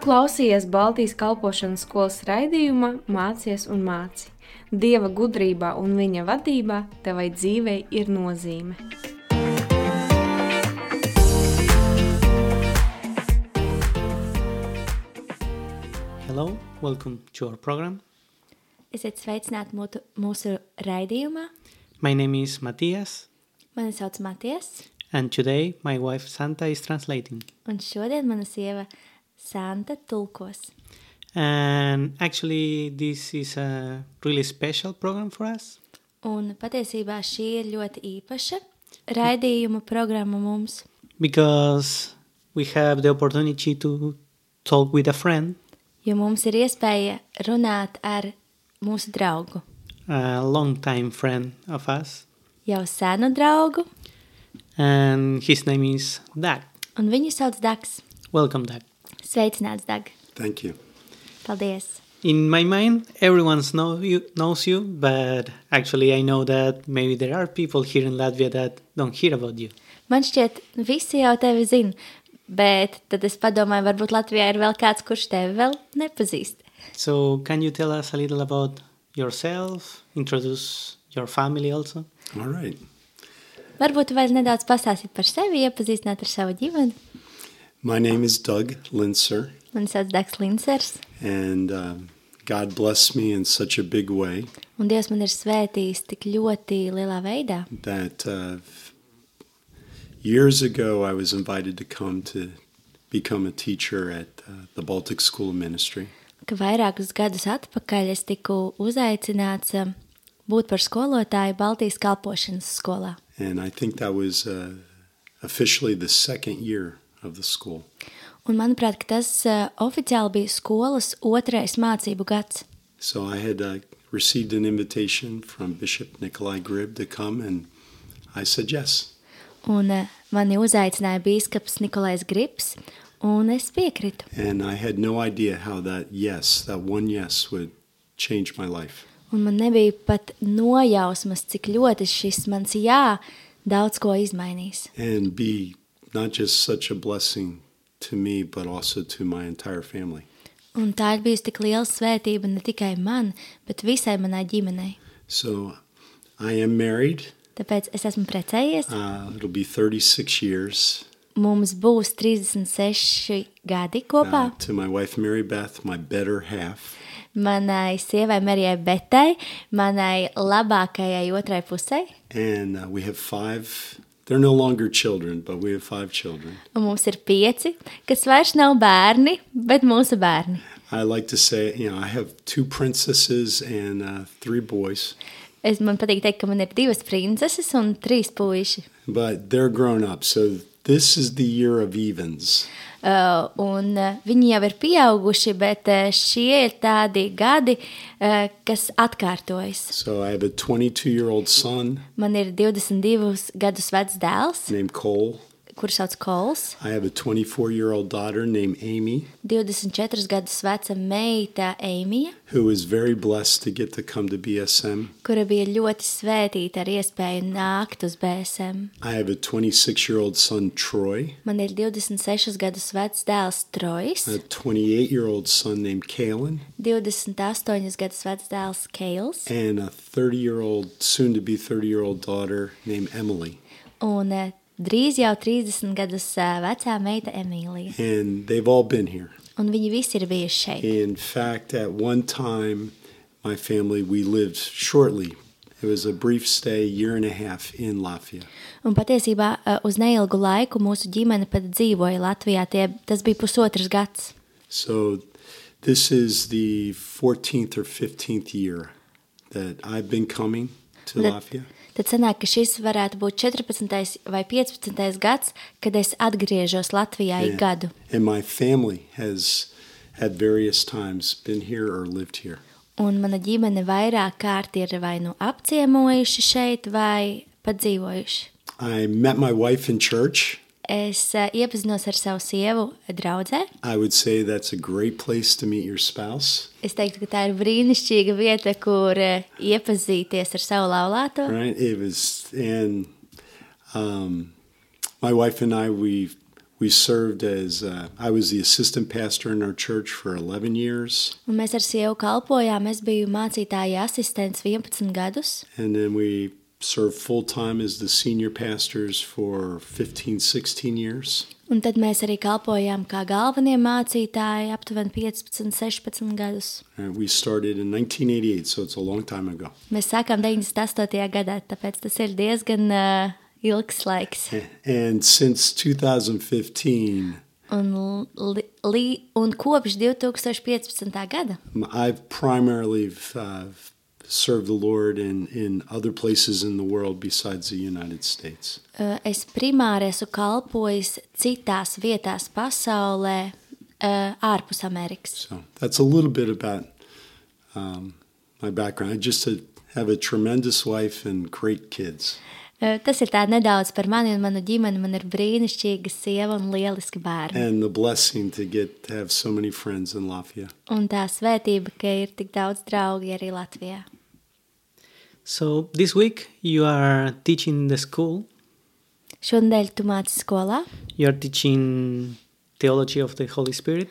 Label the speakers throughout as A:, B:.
A: klausies Baltijas kalpošanas skolas raidījuma Mācies un māci. Dieva gudrībā un viņa vadībā tevai dzīvei ir nozīme.
B: Hello, welcome to our program.
C: Esiet sveicināti mūtu, mūsu raidījumā.
B: My name is Matthias,
C: Mani sauc Matijas,
B: and today my wife Santa is translating.
C: un šodien mana sieva Santa tulkos.
B: And actually, this is a really special program for us
C: Un patiesībā šī ir ļoti īpaša raidījuma programma mums,
B: because we have the opportunity to talk with a friend,
C: jo mums ir iespēja runāt ar mūsu draugu,
B: a longtime friend of us,
C: jau senu draugu,
B: and his name is Doug.
C: un viņu sauc Dags.
B: Welcome, Doug.
C: Sveicināts, Dag!
D: Thank you.
C: Paldies!
B: In my mind, everyone know you, knows you, but actually, I know that maybe there are people here in Latvia that don't hear about you.
C: Man šķiet, visi jau tevi zina, bet tad es padomāju, varbūt Latvijā ir vēl kāds, kurš tevi vēl nepazīst.
B: So, can you tell us a little about yourself? Introduce your family also.
D: All right.
C: Varbūt vēl nedaudz pastāstīt par sevi, iepazīstināt ar savu ģimeni.
D: My name is Doug Linser,
C: Mani sauc Dārgs Linsers,
D: and um God blessed me in such a big way
C: un Dievs man ir svētījis tik ļoti lielā veidā,
D: that uh, years ago I was invited to come to become a teacher at uh, the Baltic School of Ministry.
C: ka vairākus gadus atpakaļ es tiku uzaicināts um, būt par skolotāju Baltijas kalpošanas skolā.
D: And I think that was uh, officially the second year of the school.
C: Un manuprāt, ka tas uh, oficiāli bija skolas otrais mācību gads.
D: So I had uh, received an invitation from Bishop Nikolai Grib to come, and I said yes.
C: Un uh, mani uzaicināja bīskaps Nikolais Grips, un es piekritu.
D: And I had no idea how that yes, that one yes, would change my life.
C: Un man nebija pat nojausmas, cik ļoti šis mans jā daudz ko izmainīs.
D: And be not just such a blessing to me, but also to my entire family.
C: Un tā ir bijusi tik liela svētība ne tikai man, bet visai manai ģimenei.
D: So I am married.
C: Tāpēc es esmu precējies.
D: Uh, it'll be 36 years
C: Mums būs 36 gadi kopā.
D: uh, to my wife, Mary Beth, my better half.
C: Manai sievai, Marijai Betai, manai labākajai otrai pusē.
D: And uh, we have five, they're no longer children, but we have five children.
C: Un mums ir pieci, kas vairs nav bērni, bet mūsu bērni.
D: I like to say, you know, I have two princesses and uh, three boys,
C: Es man patīk teikt, ka man ir divas princeses un trīs puiši.
D: but they're grown up. So this is the year of evens.
C: Uh, un uh, viņi jau ir pieauguši, bet uh, šie ir tādi gadi, uh, kas atkārtojas.
D: So I have a 22 year old son
C: Man ir 22 gadus vecs dēls,
D: named Cole.
C: kurš sauc Kols,
D: I have a 24 year old daughter named Amy,
C: 24 gadus veca meita Eimija,
D: who was very blessed to get to come to BSM.
C: kura bija ļoti svētīta ar iespēju nākt uz BSM.
D: I have a 26 year old son, Troy,
C: Man ir 26 gadus vecs dēls Trojs,
D: a 28 year old son named Kalen,
C: 28 gadus vecs dēls Keils
D: and a 30 year old, soon to be 30 year old daughter named Emily.
C: un eh, drīz jau 30 gadus eh, vecā meita Emīlija.
D: And they've all been here.
C: Un viņi visi ir bijuši šeit.
D: In fact, at one time, my family, we lived shortly. It was a brief stay, year and a half in Lafayette.
C: Un patiesībā eh, uz neilgu laiku mūsu ģimene pat dzīvoja Latvijā. Tie, tas bija pusotrs gads.
D: So this is the 14th or 15th year that I've been coming to
C: That-
D: Lafayette.
C: Tad sanāk, ka šis varētu būt 14. vai 15. gads, kad es atgriežos Latvijā ik gadu.
D: And my family has at various times been here or lived here.
C: Un mana ģimene vairāk kārt ir vai nu apciemojuši šeit, vai pat dzīvojuši.
D: I met my wife in church.
C: Es eh, iepazinos ar savu sievu eh, draudzē.
D: I would say that's a great place to meet your spouse,
C: Es teiktu, ka tā ir brīnišķīga vieta, kur eh, iepazīties ar savu laulāto.
D: Mm. right? It was, and um, my wife and I, we We served as, uh, I was the assistant pastor in our church for 11 years.
C: Un mēs ar sievu kalpojām. Es biju mācītāja asistents 11 gadus.
D: And then we served full time as the senior pastors for 15, 16 years.
C: Un tad mēs arī kalpojām kā galvenie mācītāji aptuveni 15, 16 gadus.
D: And Uh, we started in 1988, so it's a long time ago.
C: Mēs sākām 98. gadā, tāpēc tas ir diezgan uh, ilgs laiks.
D: And since 2015,
C: Un, li, li, un kopš 2015. gada
D: um, I've primarily uh, served the Lord in, in other places in the world besides the United States.
C: uh, es primāri esmu kalpojis citās vietās pasaulē, uh, ārpus Amerikas.
D: So that's a little bit about um, my background. I just uh, have a tremendous wife and great kids.
C: Uh, tas ir tā nedaudz par mani un manu ģimeni. Man ir brīnišķīga sieva un lieliski bērni.
D: and the blessing to get to have so many friends in Lafayette.
C: Un tā svētība, ka ir tik daudz draugi arī Latvijā.
B: So this week you are teaching the school.
C: Šonadēļ tu māci skolā,
B: You are teaching theology of the Holy Spirit,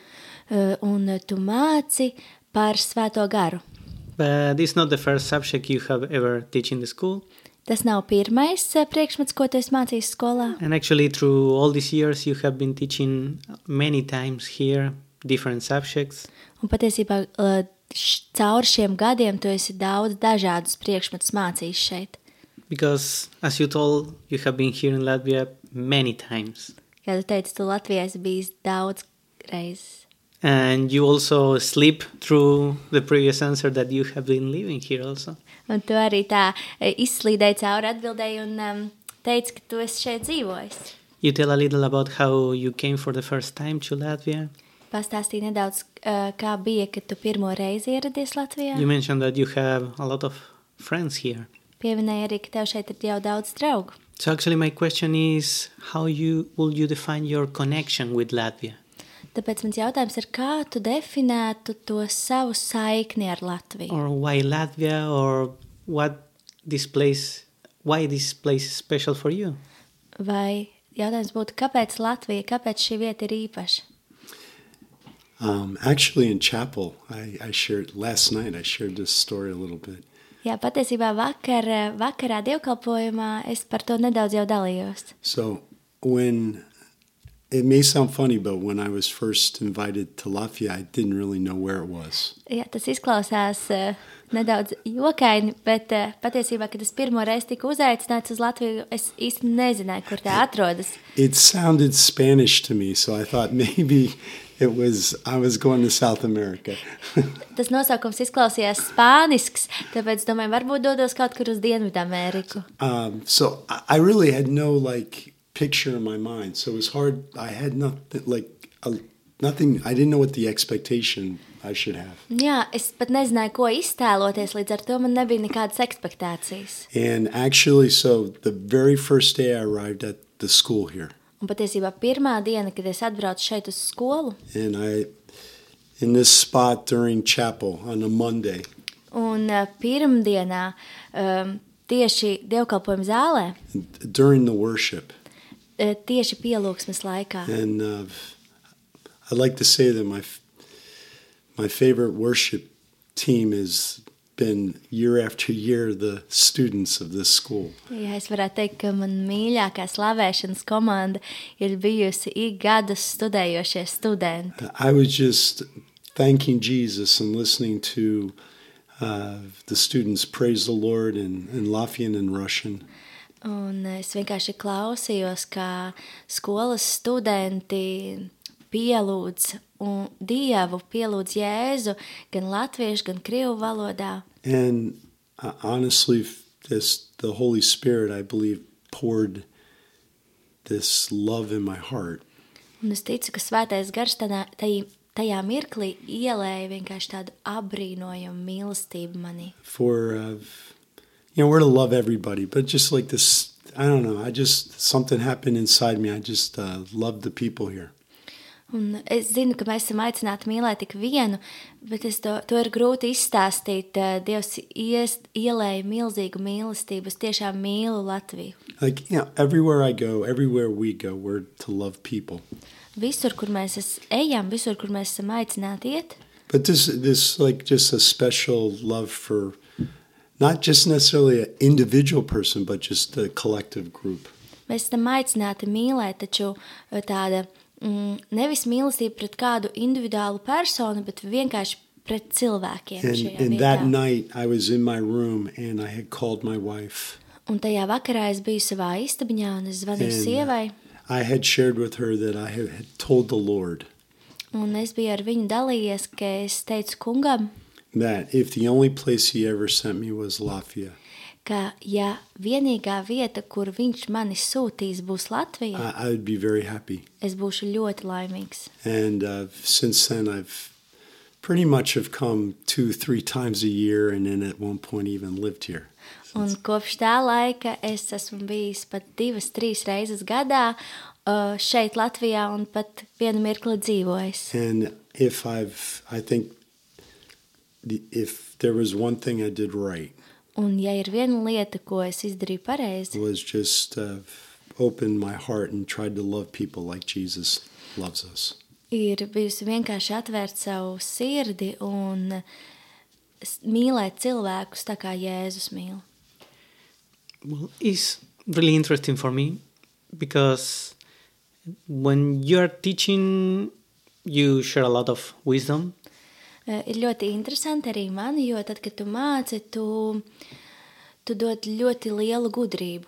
C: uh, un uh, tu māci par svēto garu.
B: but it's not the first subject you have ever teach in the school.
C: Tas nav pirmais eh, priekšmets, ko tu esi mācījis skolā.
B: And actually, through all these years, you have been teaching many times here different subjects.
C: Un patiesībā eh, š- caur šiem gadiem tu esi daudz dažādus priekšmetus mācījis šeit.
B: Because, as you told, you have been here in Latvia many times.
C: Kā tu teici, tu Latvijā esi bijis daudz reizes.
B: And you also slip through the previous answer that you have been living here also.
C: Un tu arī tā eh, izslīdēji cauri atbildēji un um, teici, ka tu esi šeit dzīvojis.
B: You tell a little about how you came for the first time to Latvia.
C: Pastāstīji nedaudz, eh, kā bija, kad tu pirmo reizi ieradies Latvijā.
B: You mentioned that you have a lot of friends here.
C: Pieminēji arī, ka tev šeit ir jau daudz draugu.
B: So actually my question is how you will you define your connection with Latvia?
C: Tāpēc mans jautājums ir, kā tu definētu to savu saikni ar Latviju?
B: Or why Latvia or what this place why this place is special for you?
C: Vai jautājums būtu, kāpēc Latvija, kāpēc šī vieta ir īpaša?
D: Um, actually, in chapel, I, I shared last night. I shared this story a little bit.
C: Jā, patiesībā vakar, eh, vakarā dievkalpojumā es par to nedaudz jau dalījos.
D: So when it may sound funny, but when I was first invited to Lafayette, I didn't really know where it was.
C: Jā, tas izklausās eh, nedaudz jokaini, bet eh, patiesībā, kad es pirmo reizi tiku uzaicināts uz Latviju, es īsti nezināju, kur tā atrodas.
D: It sounded Spanish to me, so I thought maybe it was I was going to South America.
C: Tas nosaukums izklausījās spānisks, tāpēc domāju, varbūt dodos kaut kur uz Dienvidameriku.
D: um, so I, I really had no like picture in my mind. So it was hard. I had nothing like a, nothing. I didn't know what the expectation I should have.
C: Jā, es pat nezināju, ko iztēloties, līdz ar to man nebija nekādas expectācijas.
D: And actually, so the very first day I arrived at the school here,
C: Un patiesībā pirmā diena, kad es atbraucu šeit uz skolu,
D: and I, in this spot during chapel on a Monday,
C: un eh, pirmdienā um, tieši dievkalpojuma zālē,
D: during the worship,
C: eh, tieši pielūgsmes laikā.
D: and uh, I like to say that my f- my favorite worship team has been year after year the students of this school.
C: Jā, es varētu teikt, ka man mīļākā slavēšanas komanda ir bijusi ik gadus studējošie studenti.
D: I was just thanking Jesus and listening to uh, the students praise the Lord in, in Latvian and Russian.
C: Un eh, es vienkārši klausījos, kā skolas studenti pielūdz un dievu, pielūdz Jēzu gan latviešu, gan krievu valodā.
D: And uh, honestly, f- this the Holy Spirit, I believe, poured this love in my heart.
C: Un es ticu, ka svētais garš tajā, tajā mirklī ielēja vienkārši tādu apbrīnojumu mīlestību manī.
D: For uh, you know, we're to love everybody, but just like this, I don't know. I just something happened inside me. I just uh, love the people here.
C: Un es zinu, ka mēs esam aicināti mīlēt tik vienu, bet es to, to ir grūti izstāstīt. Eh, Dievs ies, ielēja milzīgu mīlestību. Es tiešām mīlu Latviju.
D: Like, you know, everywhere I go, everywhere we go, we're to love people.
C: Visur, kur mēs es- ejam, visur, kur mēs esam aicināti iet,
D: But this, this, like, just a special love for not just necessarily an individual person, but just a collective group.
C: mēs esam aicināti mīlēt, taču eh, tāda mm, nevis mīlestība pret kādu individuālu personu, bet vienkārši pret cilvēkiem.
D: And,
C: šajā
D: and
C: vietā.
D: that night, I was in my room and I had called my wife.
C: Un tajā vakarā es biju savā istabiņā un es zvanīju
D: And-
C: sievai.
D: I had shared with her that I had had told the Lord
C: Un es biju ar viņu dalījies, ka es teicu kungam,
D: that if the only place he ever sent me was Lafayette,
C: ka ja vienīgā vieta, kur viņš mani sūtīs, būs Latvija,
D: I, I would be very happy.
C: es būšu ļoti laimīgs.
D: And uh, since then, I've pretty much have come two, three times a year, and then at one point even lived here.
C: Un kopš tā laika es esmu bijis pat divas, trīs reizes gadā uh, šeit, Latvijā, un pat vienu mirkli dzīvojis.
D: And if I've, I think, the, if there was one thing I did right
C: Un ja ir viena lieta, ko es izdarīju pareizi,
D: was just uh, open my heart and tried to love people like Jesus loves us.
C: ir bijusi vienkārši atvērt savu sirdi un s- mīlēt cilvēkus tā kā Jēzus mīl.
B: Well, it's really interesting for me because when you are teaching, you share a lot of wisdom.
C: Eh, Ir ļoti interesanti arī man, jo tad, kad tu māci, tu, tu dod ļoti lielu gudrību.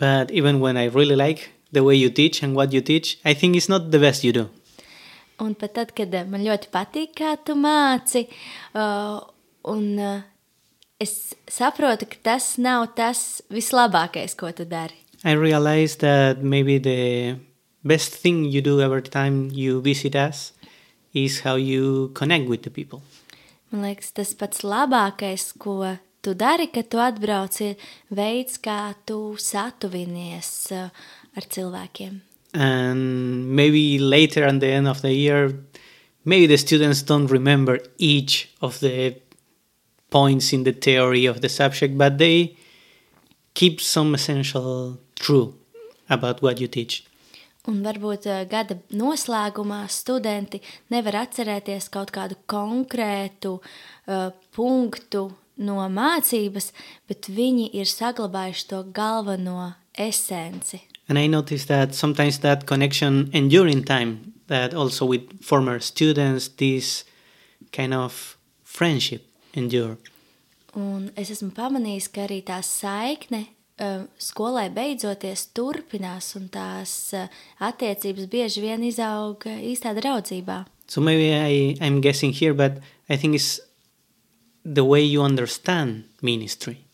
B: But even when I really like the way you teach and what you teach, I think it's not the best you do.
C: Un pat tad, kad eh, man ļoti patīk, kā tu māci, eh, un eh, es saprotu, ka tas nav tas vislabākais, ko tu dari.
B: I realize that maybe the best thing you do every time you visit us is how you connect with the people.
C: Man liekas, tas pats labākais, ko tu dari, kad tu atbrauc, ir veids, kā tu satuvinies eh, ar cilvēkiem.
B: And maybe later at the end of the year, maybe the students don't remember each of the points in the theory of the subject, but they keep some essential true about what you teach.
C: Un varbūt eh, gada noslēgumā studenti nevar atcerēties kaut kādu konkrētu eh, punktu no mācības, bet viņi ir saglabājuši to galveno esenci.
B: And I noticed that sometimes that connection enduring time, that also with former students, this kind of friendship endure.
C: Un es esmu pamanījis, ka arī tā saikne eh, skolai beidzoties turpinās, un tās eh, attiecības bieži vien izauga īstā draudzībā.
B: So maybe I, I'm guessing here, but I think it's the way you understand ministry.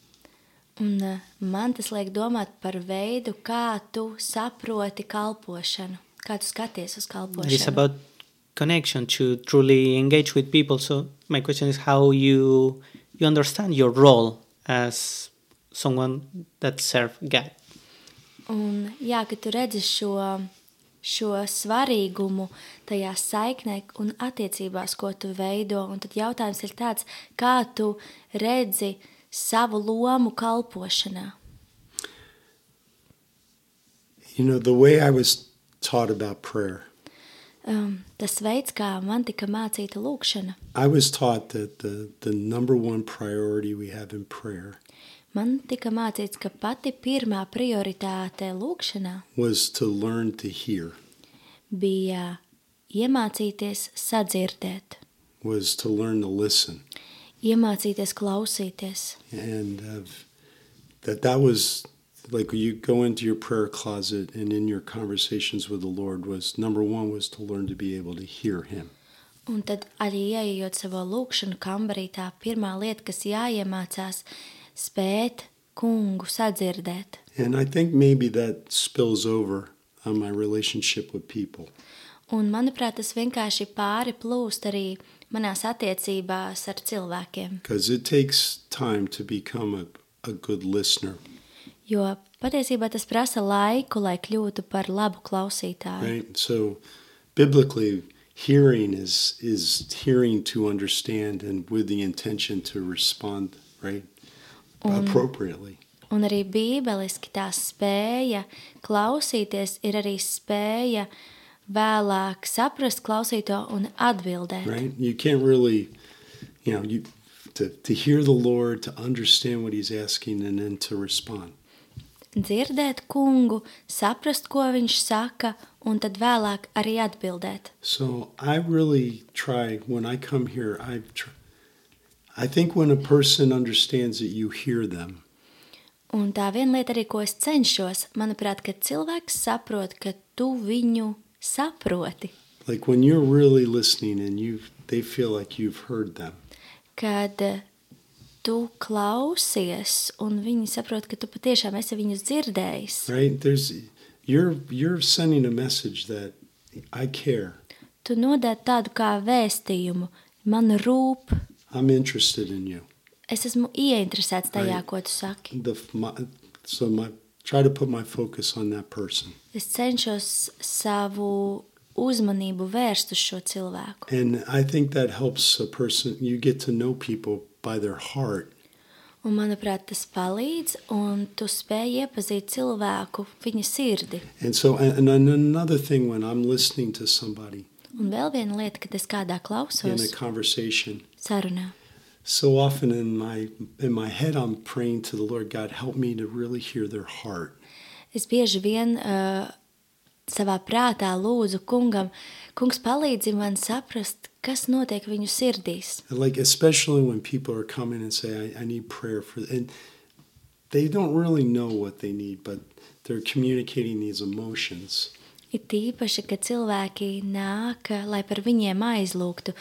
C: Un eh, man tas liek domāt par veidu, kā tu saproti kalpošanu, kā tu skaties
B: It
C: uz
B: is
C: kalpošanu.
B: about connection to truly engage with people. So my question is how you you understand your role as someone that serve God.
C: Un, jā, ka tu redzi šo, šo svarīgumu tajā saiknē un attiecībās, ko tu veido. Un tad jautājums ir tāds, kā tu redzi savu lomu kalpošanā.
D: You know, the way I was taught about prayer,
C: Um, tas veids, kā man tika mācīta lūkšana,
D: I was taught that the, the number one priority we have in prayer
C: man tika mācīts, ka pati pirmā prioritāte lūkšanā
D: was to learn to hear,
C: bija iemācīties sadzirdēt,
D: was to learn to listen,
C: iemācīties klausīties.
D: and uh, that that was like you go into your prayer closet and in your conversations with the Lord was number one was to learn to be able to hear Him.
C: Un tad arī ieejot savā lūkšanā, kambarī tā pirmā lieta, kas jāiemācās, spēt kungu sadzirdēt.
D: And I think maybe that spills over on my relationship with people.
C: Un, manuprāt, tas vienkārši pāri plūst arī manās attiecībās ar cilvēkiem.
D: Because it takes time to become a, a good listener,
C: Jo patiesībā tas prasa laiku, lai kļūtu par labu klausītāju.
D: right? So biblically, hearing is is hearing to understand and with the intention to respond right appropriately.
C: Un arī bībeliski tā spēja klausīties ir arī spēja vēlāk saprast klausīto un atbildēt.
D: right? You can't really, you know, you to, to hear the Lord, to understand what He's asking, and then to respond.
C: Dzirdēt kungu, saprast, ko viņš saka, un tad vēlāk arī atbildēt.
D: So I really try when I come here. I, tr- I think when a person understands that you hear them,
C: Un tā viena lieta arī, ko es cenšos, manuprāt, kad cilvēks saprot, ka tu viņu saproti,
D: like when you're really listening and you they feel like you've heard them.
C: kad eh, tu klausies, un viņi saprot, ka tu patiešām esi viņus dzirdējis.
D: Right? There's you're you're sending a message that I care.
C: Tu nodod tādu kā vēstījumu, man rūp,
D: I'm interested in you.
C: es esmu ieinteresēts tajā,
D: Right.
C: ko tu saki.
D: The f- my, so my try to put my focus on that person.
C: Es cenšos savu uzmanību vērst uz šo cilvēku.
D: And I think that helps a person. You get to know people by their heart,
C: Un, manuprāt, tas palīdz, un tu spēj iepazīt cilvēku, viņa sirdi.
D: and so and, and then another thing when I'm listening to somebody
C: Un vēl viena lieta, kad es kādā
D: in a
C: klausos
D: conversation,
C: sarunā,
D: so often in my in my head I'm praying to the Lord God, help me to really hear their heart.
C: es bieži vien uh, savā prātā lūdzu kungam, kungs palīdzi man saprast, kas notiek viņu sirdīs.
D: And like especially when people are coming and say, I, I need prayer for and they don't really know what they need, but they're communicating these emotions.
C: It īpaši, ka cilvēki nāk, lai par viņiem aizlūgtu.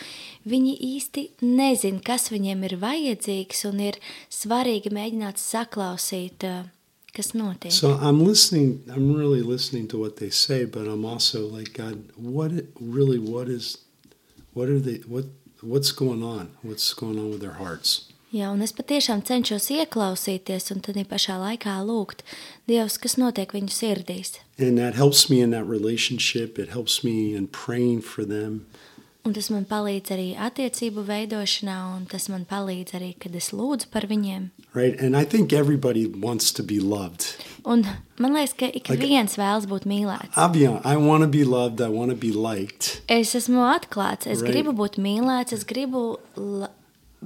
C: Viņi īsti nezina, kas viņiem ir vajadzīgs, un ir svarīgi mēģināt saklausīt, eh, kas notiek. So,
D: So I'm listening. I'm really listening to what they say, but I'm also like, God, what it- really? What is? What are they? What? What's going on? What's going on with their hearts?
C: Jā, un es patiešām cenšos ieklausīties, un tad ir pašā laikā lūgt Dievs, kas notiek viņu sirdīs.
D: And that helps me in that relationship. It helps me in praying for them.
C: Un tas man palīdz arī attiecību veidošanā, un tas man palīdz arī, kad es lūdzu par viņiem.
D: Right, and I think everybody wants to be loved.
C: Un man liekas, ka ik
D: Like-
C: viens vēlas būt mīlēts.
D: I'll be honest. I want to be loved. I want to be liked.
C: Es esmu atklāts, es
D: Right.
C: right. gribu būt mīlēts, es gribu la-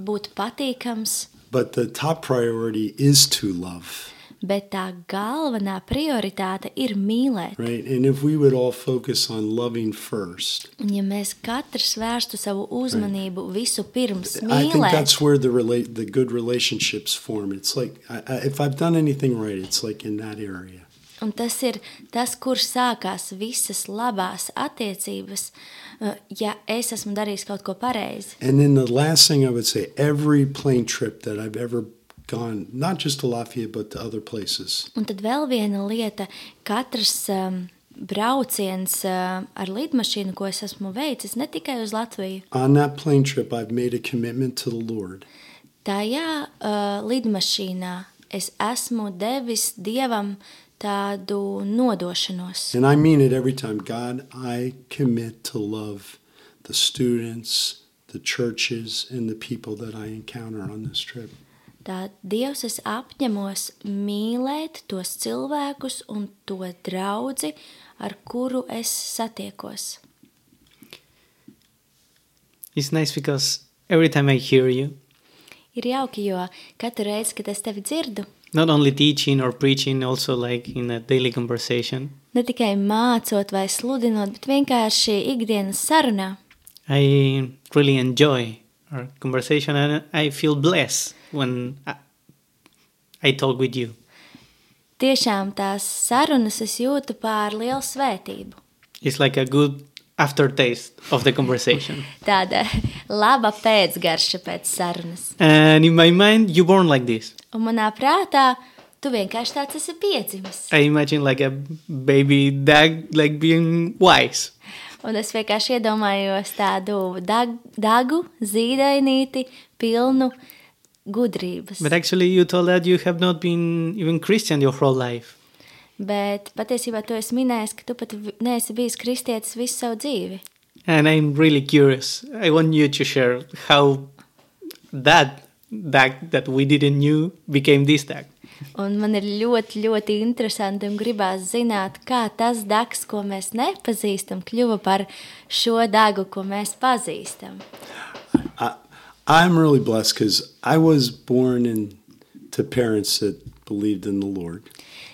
C: būt patīkams,
D: But the top priority is to love.
C: bet tā galvenā prioritāte ir mīlēt. Right.
D: Right, and if we would all focus on loving first,
C: Ja mēs katrs vērstu savu uzmanību right. visu pirms
D: I think
C: mīlēt,
D: that's where the relate the good relationships form. It's like I, I, if I've done anything right, it's like in that area.
C: un tas ir tas, kur sākās visas labās attiecības, uh, ja es esmu darījis kaut ko pareizi.
D: And then the last thing I would say, every plane trip that I've ever gone, not just to Lafayette but to other places,
C: Un tad vēl viena lieta, katrs um, brauciens uh, ar lidmašīnu, ko es esmu veicis, ne tikai uz Latviju.
D: on that plane trip, I've made a commitment to the Lord
C: Tajā uh, lidmašīnā es esmu devis dievam tādu nodošanos.
D: And I mean it every time. God, I commit to love the students, the churches, and the people that I encounter on this trip.
C: Tā Dievs es apņemos mīlēt tos cilvēkus un to draugu, ar kuru es satiekos.
B: It's nice because every time I hear you,
C: Ir jauki, jo katru reizi, kad es tevi dzirdu,
B: not only teaching or preaching, also like in a daily conversation,
C: ne tikai mācot vai sludinot, bet vienkārši ikdienas sarunā,
B: I really enjoy our conversation and I feel blessed when I, I talk with you.
C: tiešām tās sarunas es jūtu pār lielu svētību.
B: It's like a good aftertaste of the conversation.
C: tāda laba pēcgarša pēc sarunas.
B: and in my mind, you born like this.
C: Un manā prātā tu vienkārši tāds esi piedzimis.
B: I imagine like a baby dog, like being wise.
C: Un es vienkārši iedomājos tādu dag, dagu, zīdainīti, pilnu gudrības.
B: But actually, you told that you have not been even Christian your whole life.
C: Bet patiesībā tu esi minējis, ka tu pat vi- neesi bijis kristietis visu savu dzīvi.
B: And I'm really curious. I want you to share how that DAG that we didn't knew became this DAG.
C: Un man ir ļoti, ļoti interesanti un gribās zināt, kā tas dags, ko mēs nepazīstam, kļuva par šo dagu, ko mēs pazīstam.
D: I'm really blessed because I was born into parents that believed in the Lord.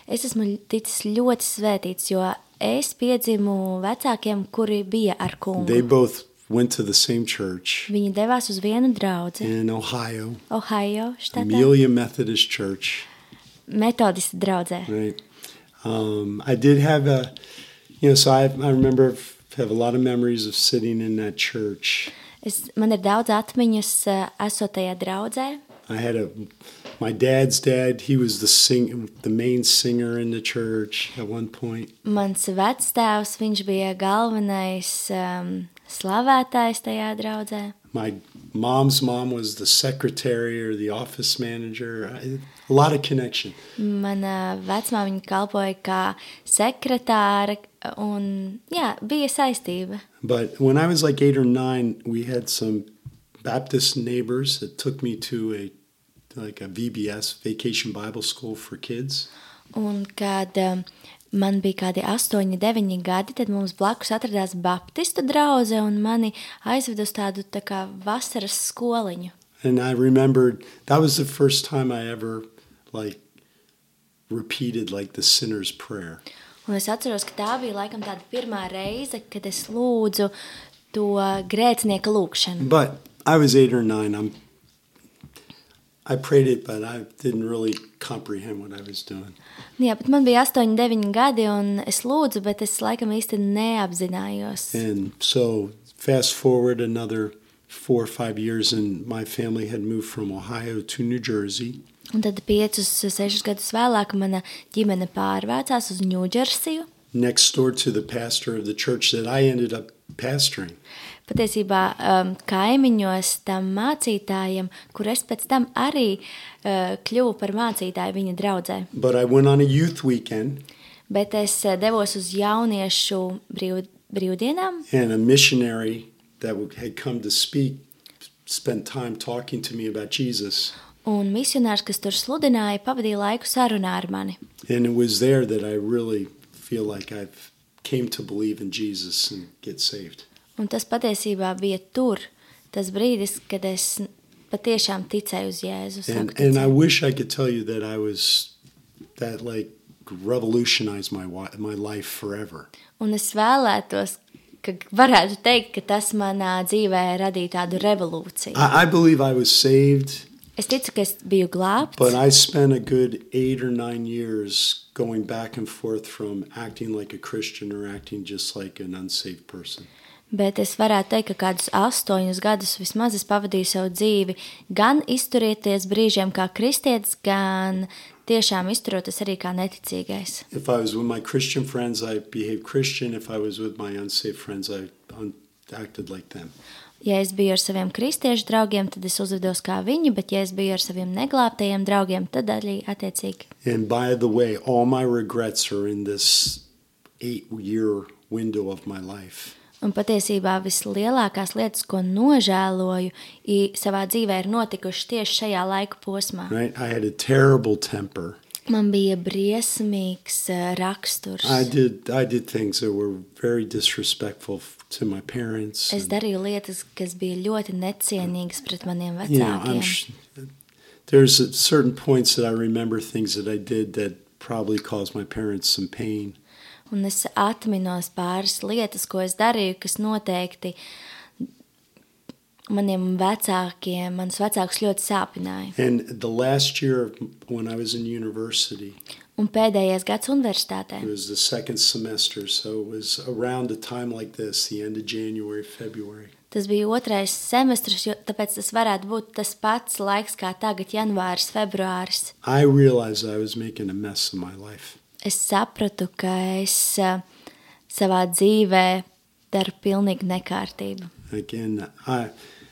C: Es esmu ticis ļoti svētīts, jo es piedzimu vecākiem, kuri bija ar
D: They
C: kungu.
D: both went to the same church
C: Viņi devās uz vienu draugu,
D: in Ohio,
C: Ohio štatā,
D: Amelia Methodist Church,
C: metodistu draugā.
D: right? Um, I did have a, you know, so I, I remember have a lot of memories of sitting in that church.
C: Es, man ir daudz atmiņas, eh, esot tajā draudzē.
D: I had a, my dad's dad, he was the sing, the main singer in the church at one point.
C: Mans vectēvs, viņš bija galvenais um, slavētājs tajā draudzē.
D: my mom's mom was the secretary or the office manager. I, a lot of connection.
C: Mana vecmāmiņa kalpoja kā sekretāra, un jā, bija saistība.
D: But when I was like eight or nine, we had some Baptist neighbors that took me to a like a VBS Vacation Bible School for kids.
C: Un kad um, man bija kādi 8, 9 gadi, tad mums blakus atradās Baptistu draugs, un mani aizveda uz tādu tā kā vasaras skoliņu.
D: And I remembered that was the first time I ever like repeated like the sinner's prayer.
C: Un es atceros, ka tā bija laikam tāda pirmā reize, kad es lūdzu to grēcinieka lūgšanu.
D: But I was eight or nine. I'm I prayed it, but I didn't really comprehend what I was doing.
C: Jā, bet man bija 8, 9 gadi, un es lūdzu, bet es laikam īsti neapzinājos.
D: And so, fast forward another four or five years, and my family had moved from Ohio to New Jersey.
C: Un tad 5, 6 gadus vēlāk mana ģimene pārvācās uz Ņūdžersiju.
D: Next door to the pastor of the church that I ended up pastoring.
C: Patiesībā um, kaimiņos tam mācītājam, kur es pēc tam arī uh, kļuvu par mācītāju viņa draudzē.
D: But I went on a youth weekend,
C: Bet es uh, devos uz jauniešu brīv, brīvdienām,
D: and a missionary that had come to speak spent time talking to me about Jesus.
C: un misionārs, kas tur sludināja, pavadīja laiku sarunā ar mani.
D: And it was there that I really feel like I've came to believe in Jesus and get saved.
C: Un tas patiesībā bija tur, tas brīdis, kad es patiešām ticēju uz Jēzu. sāku
D: and, and I
C: ticēt.
D: wish I could tell you that I was that like revolutionized my wi- my life forever.
C: Un es vēlētos, ka varētu teikt, ka tas manā dzīvē radīja tādu revolūciju.
D: I, I believe I was saved,
C: Es ticu, ka es biju glābts.
D: but I spent a good eight or nine years going back and forth from acting like a Christian or acting just like an unsaved person.
C: Bet es varētu teikt, ka kādus astoņus gadus vismaz es pavadīju savu dzīvi, gan izturieties brīžiem kā kristietis, gan tiešām izturoties arī kā neticīgais.
D: If I was with my Christian friends, I behaved Christian. If I was with my unsaved friends, I un- acted like them.
C: Ja es biju ar saviem kristiešu draugiem, tad es uzvedos kā viņi, bet ja es biju ar saviem neglābtajiem draugiem, tad arī attiecīgi.
D: And by the way, all my regrets are in this eight year window of my life.
C: Un patiesībā vislielākās lietas, ko nožēloju i- savā dzīvē, ir notikušas tieši šajā laika posmā.
D: right? I had a terrible temper.
C: Man bija briesmīgs eh, raksturs.
D: I did I did things that were very disrespectful f- to my parents.
C: Es darīju lietas, kas bija ļoti necienīgas pret maniem
D: you know,
C: vecākiem.
D: I'm sh- there's a- certain points that I remember things that I did that probably caused my parents some pain.
C: Un es atminos pāris lietas, ko es darīju, kas noteikti maniem vecākiem, manus vecākus ļoti sāpināja.
D: And the last year of when I was in university,
C: Un pēdējais gads universitātē.
D: it was the second semester, so it was around a time like this, the end of January, February.
C: Tas bija otrais semestris, jo, tāpēc tas varētu būt tas pats laiks kā tagad, janvāris, februāris.
D: I realized I was making a mess of my life.
C: Es sapratu, ka es eh, savā dzīvē daru pilnīgi nekārtību.
D: Again, I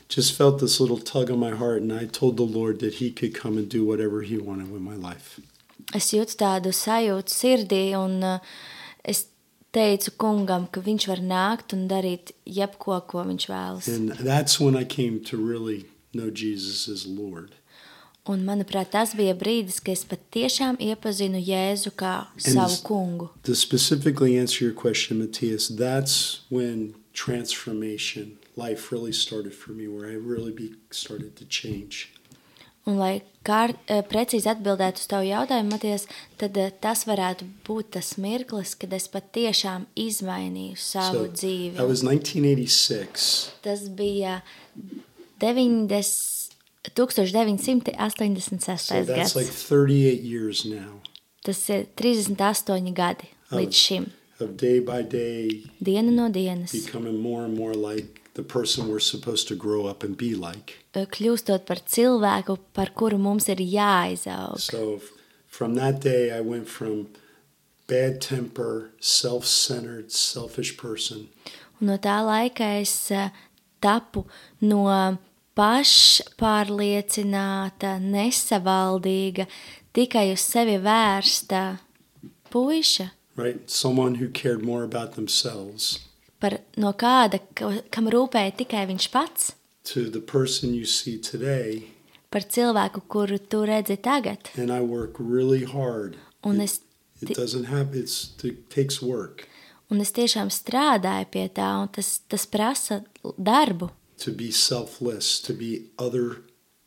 D: just felt this little tug on my heart, and I told the Lord that He could come and do whatever He wanted with my life.
C: es jūtu tādu sajūtu sirdī, un uh, es teicu kungam, ka viņš var nākt un darīt jebko, ko viņš vēlas.
D: And that's when I came to really know Jesus as Lord.
C: Un, manuprāt, tas bija brīdis, kad es patiešām iepazinu Jēzu kā savu
D: s-
C: kungu.
D: To specifically answer your question, Matthias, that's when transformation, life really started for me, where I really be, started to change.
C: Un, lai kār, eh, precīzi atbildētu uz tavu jautājumu, Matijas, tad eh, tas varētu būt tas mirklis, kad es patiešām izmainīju savu
D: So
C: so, dzīvi.
D: that was 1986.
C: Tas bija 90, 1986.
D: So that's
C: gads.
D: like 38 years now
C: Tas ir 38 gadi
D: Oh.
C: līdz šim.
D: of day by day
C: Diena no dienas,
D: becoming more and more like the person we're supposed to grow up and be like.
C: eh, kļūstot par cilvēku, par kuru mums ir jāizaug.
D: So f- from that day, I went from bad temper, self centered, selfish person
C: Un no tā laika es eh, tapu no pašpārliecināta, nesavaldīga, tikai uz sevi vērsta puiša,
D: right? Someone who cared more about themselves
C: par, no kāda, ka- kam rūpēja tikai viņš pats,
D: to the person you see today.
C: par cilvēku, kuru tu redzi tagad.
D: And I work really hard.
C: Un es,
D: It
C: Ti-
D: doesn't happen. It's, it takes work
C: un es tiešām strādāju pie tā, un tas, tas prasa darbu,
D: to be selfless, to be other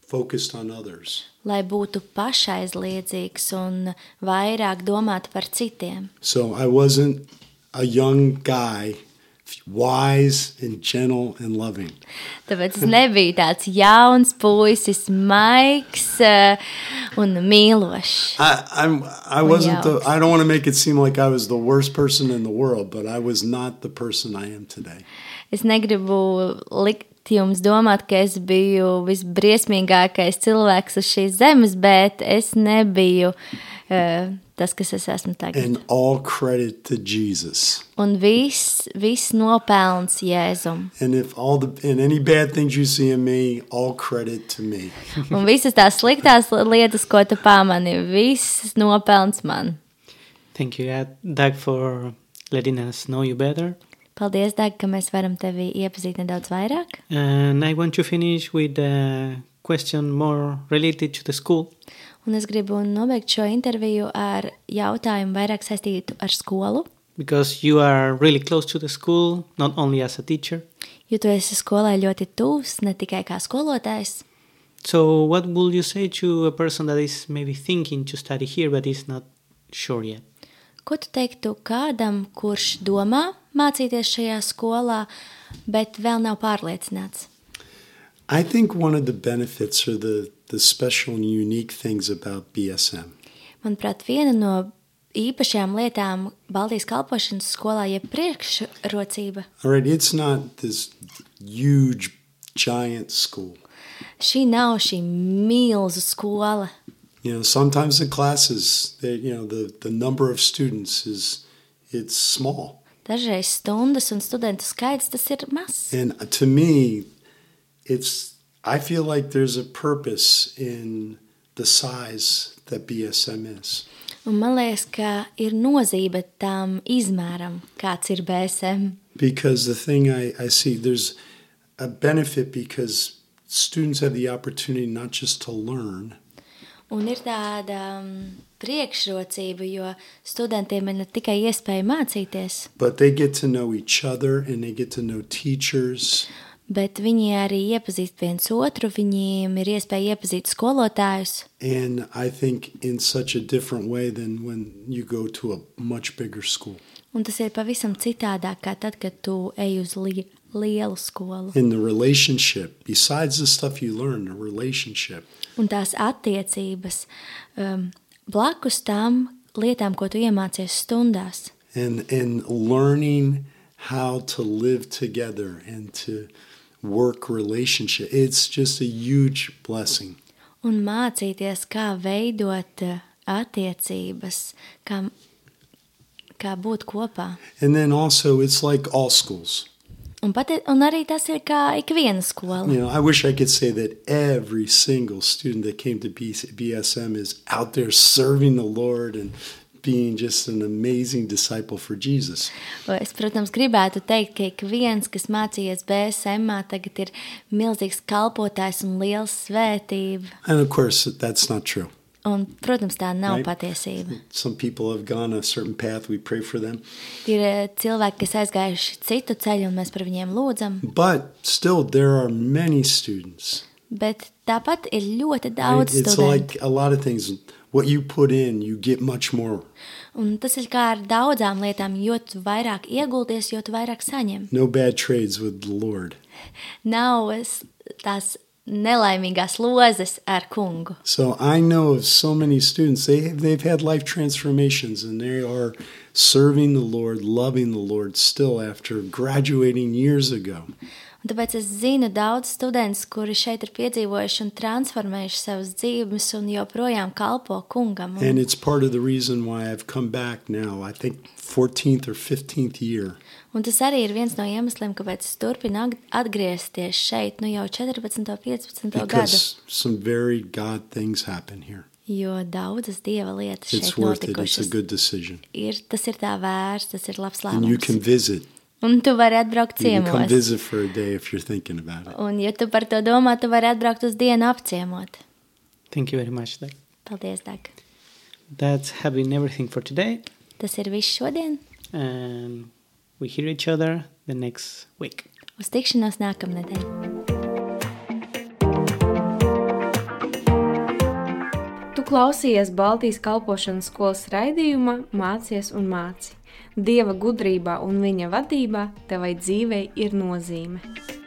D: focused on others.
C: lai būtu pašaizliedzīgs un vairāk domāt par citiem.
D: So I wasn't a young guy, wise and gentle and loving.
C: Tāpēc es nebiju tāds jauns puisis, maigs eh, un mīlošs.
D: I, I'm I wasn't the
C: out.
D: I don't want to make it seem like I was the worst person in the world, but I was not the person I am today.
C: Es negribu likt jums domāt, ka es biju visbriesmīgākais cilvēks uz šīs zemes, bet es nebiju eh, tas, kas es esmu tagad.
D: And all credit to Jesus.
C: Un viss, viss nopelns Jēzum.
D: And if all the and any bad things you see in me, all credit to me.
C: Un visas tās sliktās lietas, ko tu pamani, viss nopelns man.
B: Thank you, Dad- Doug, for letting us know you better.
C: Paldies, Dārg, ka mēs varam tevi iepazīt nedaudz vairāk.
B: And I want to finish with a question more related to the school.
C: Un es gribu nobeigt šo interviju ar jautājumu vairāk saistītu ar skolu,
B: Because you are really close to the school, not only as a teacher.
C: jo tu esi skolai ļoti tūs, ne tikai kā skolotājs.
B: So, what would you say to a person that is maybe thinking to study here but is not sure yet?
C: Ko tu teiktu kādam, kurš domā mācīties šajā skolā, bet vēl nav pārliecināts?
D: I think one of the benefits or the the special and unique things about BSM
C: Manuprāt, viena no īpašajām lietām Baltijas kalpošanas skolā ir priekšrocība.
D: All right, it's not this huge, giant school.
C: Šī nav šī milzu skola.
D: You know, sometimes the classes, they, you know, the, the number of students is it's small.
C: Dažreiz stundas un studentu skaits tas ir mazs.
D: And to me, it's I feel like there's a purpose in the size that BSM is.
C: Un man liekas, ka ir nozīme tam izmēram, kāds ir BSM.
D: Because the thing I, I see there's a benefit because students have the opportunity not just to learn,
C: Un ir tāda mm, priekšrocība, jo studentiem ir ne tikai iespēja mācīties,
D: but they get to know each other and they get to know teachers.
C: bet viņi arī iepazīst viens otru, viņiem ir iespēja iepazīt skolotājus.
D: And I think in such a different way than when you go to a much bigger school.
C: Un tas ir pavisam citādāk, kā tad, kad tu ej uz li lielu skolu.
D: In the relationship, besides the stuff you learn, the relationship,
C: Un tās attiecības um, blakus tam lietām, ko tu iemācies stundās.
D: and and learning how to live together and to work relationship, it's just a huge blessing.
C: un mācīties, kā veidot eh, attiecības, kā, kā būt kopā.
D: And then also, it's like all schools.
C: Un, pati, un arī tas ir kā ikviena skola.
D: You know, I wish I could say that every single student that came to B- BSM is out there serving the Lord and being just an amazing disciple for Jesus.
C: Es, protams, gribētu teikt, ka ik viens, kas mācījies BSM, tagad ir milzīgs kalpotājs un liels svētība.
D: And of course, that's not true.
C: Un, protams, tā nav
D: Right.
C: patiesība.
D: Some people have gone a certain path, we pray for them.
C: Ir eh, cilvēki, kas aizgājuši citu ceļu, un mēs par viņiem lūdzam.
D: But still, there are many students.
C: Bet tāpat ir ļoti
D: Right?
C: daudz
D: It's
C: studentu.
D: like a lot of things. What you put in, you get much more.
C: Un tas ir kā ar daudzām lietām. Jo tu vairāk ieguldies, jo tu vairāk saņem.
D: No bad trades with the Lord.
C: Nav es- tās nelaimīgās lozes ar kungu.
D: So I know of so many students. They they've had life transformations, and they are serving the Lord, loving the Lord still after graduating years ago.
C: Un tāpēc es zinu daudz studentus, kuri šeit ir piedzīvojuši un transformējuši savas dzīves, un joprojām kalpo kungam. Un,
D: And it's part of the reason why I've come back now. I think 14th or 15th year.
C: un tas arī ir viens no iemesliem, kāpēc es turpinu ag- atgriezties šeit nu jau 14, 15 gadu.
D: Because some very God things happen here.
C: Jo daudzas dieva lietas
D: It's
C: šeit
D: worth it. It's a
C: notikušas.
D: good decision.
C: Ir, tas ir tā vērts, tas ir labs
D: And you can
C: lēmums.
D: visit.
C: Un tu vari atbraukt
D: You can come
C: ciemos.
D: visit for a day if you're thinking about it.
C: Un, ja tu par to domā, tu vari atbraukt uz dienu apciemot.
B: Thank you very much. Doug.
C: Paldies, Dārg.
B: That's have been everything for today,
C: Tas ir viss šodien.
B: and we hear each other the next week.
C: Uz tikšanos nākamnedēļ.
A: Tu klausies Baltijas kalpošanas skolas raidījumā Mācies un māci. Dieva gudrībā un viņa vadībā tevai dzīvei ir nozīme.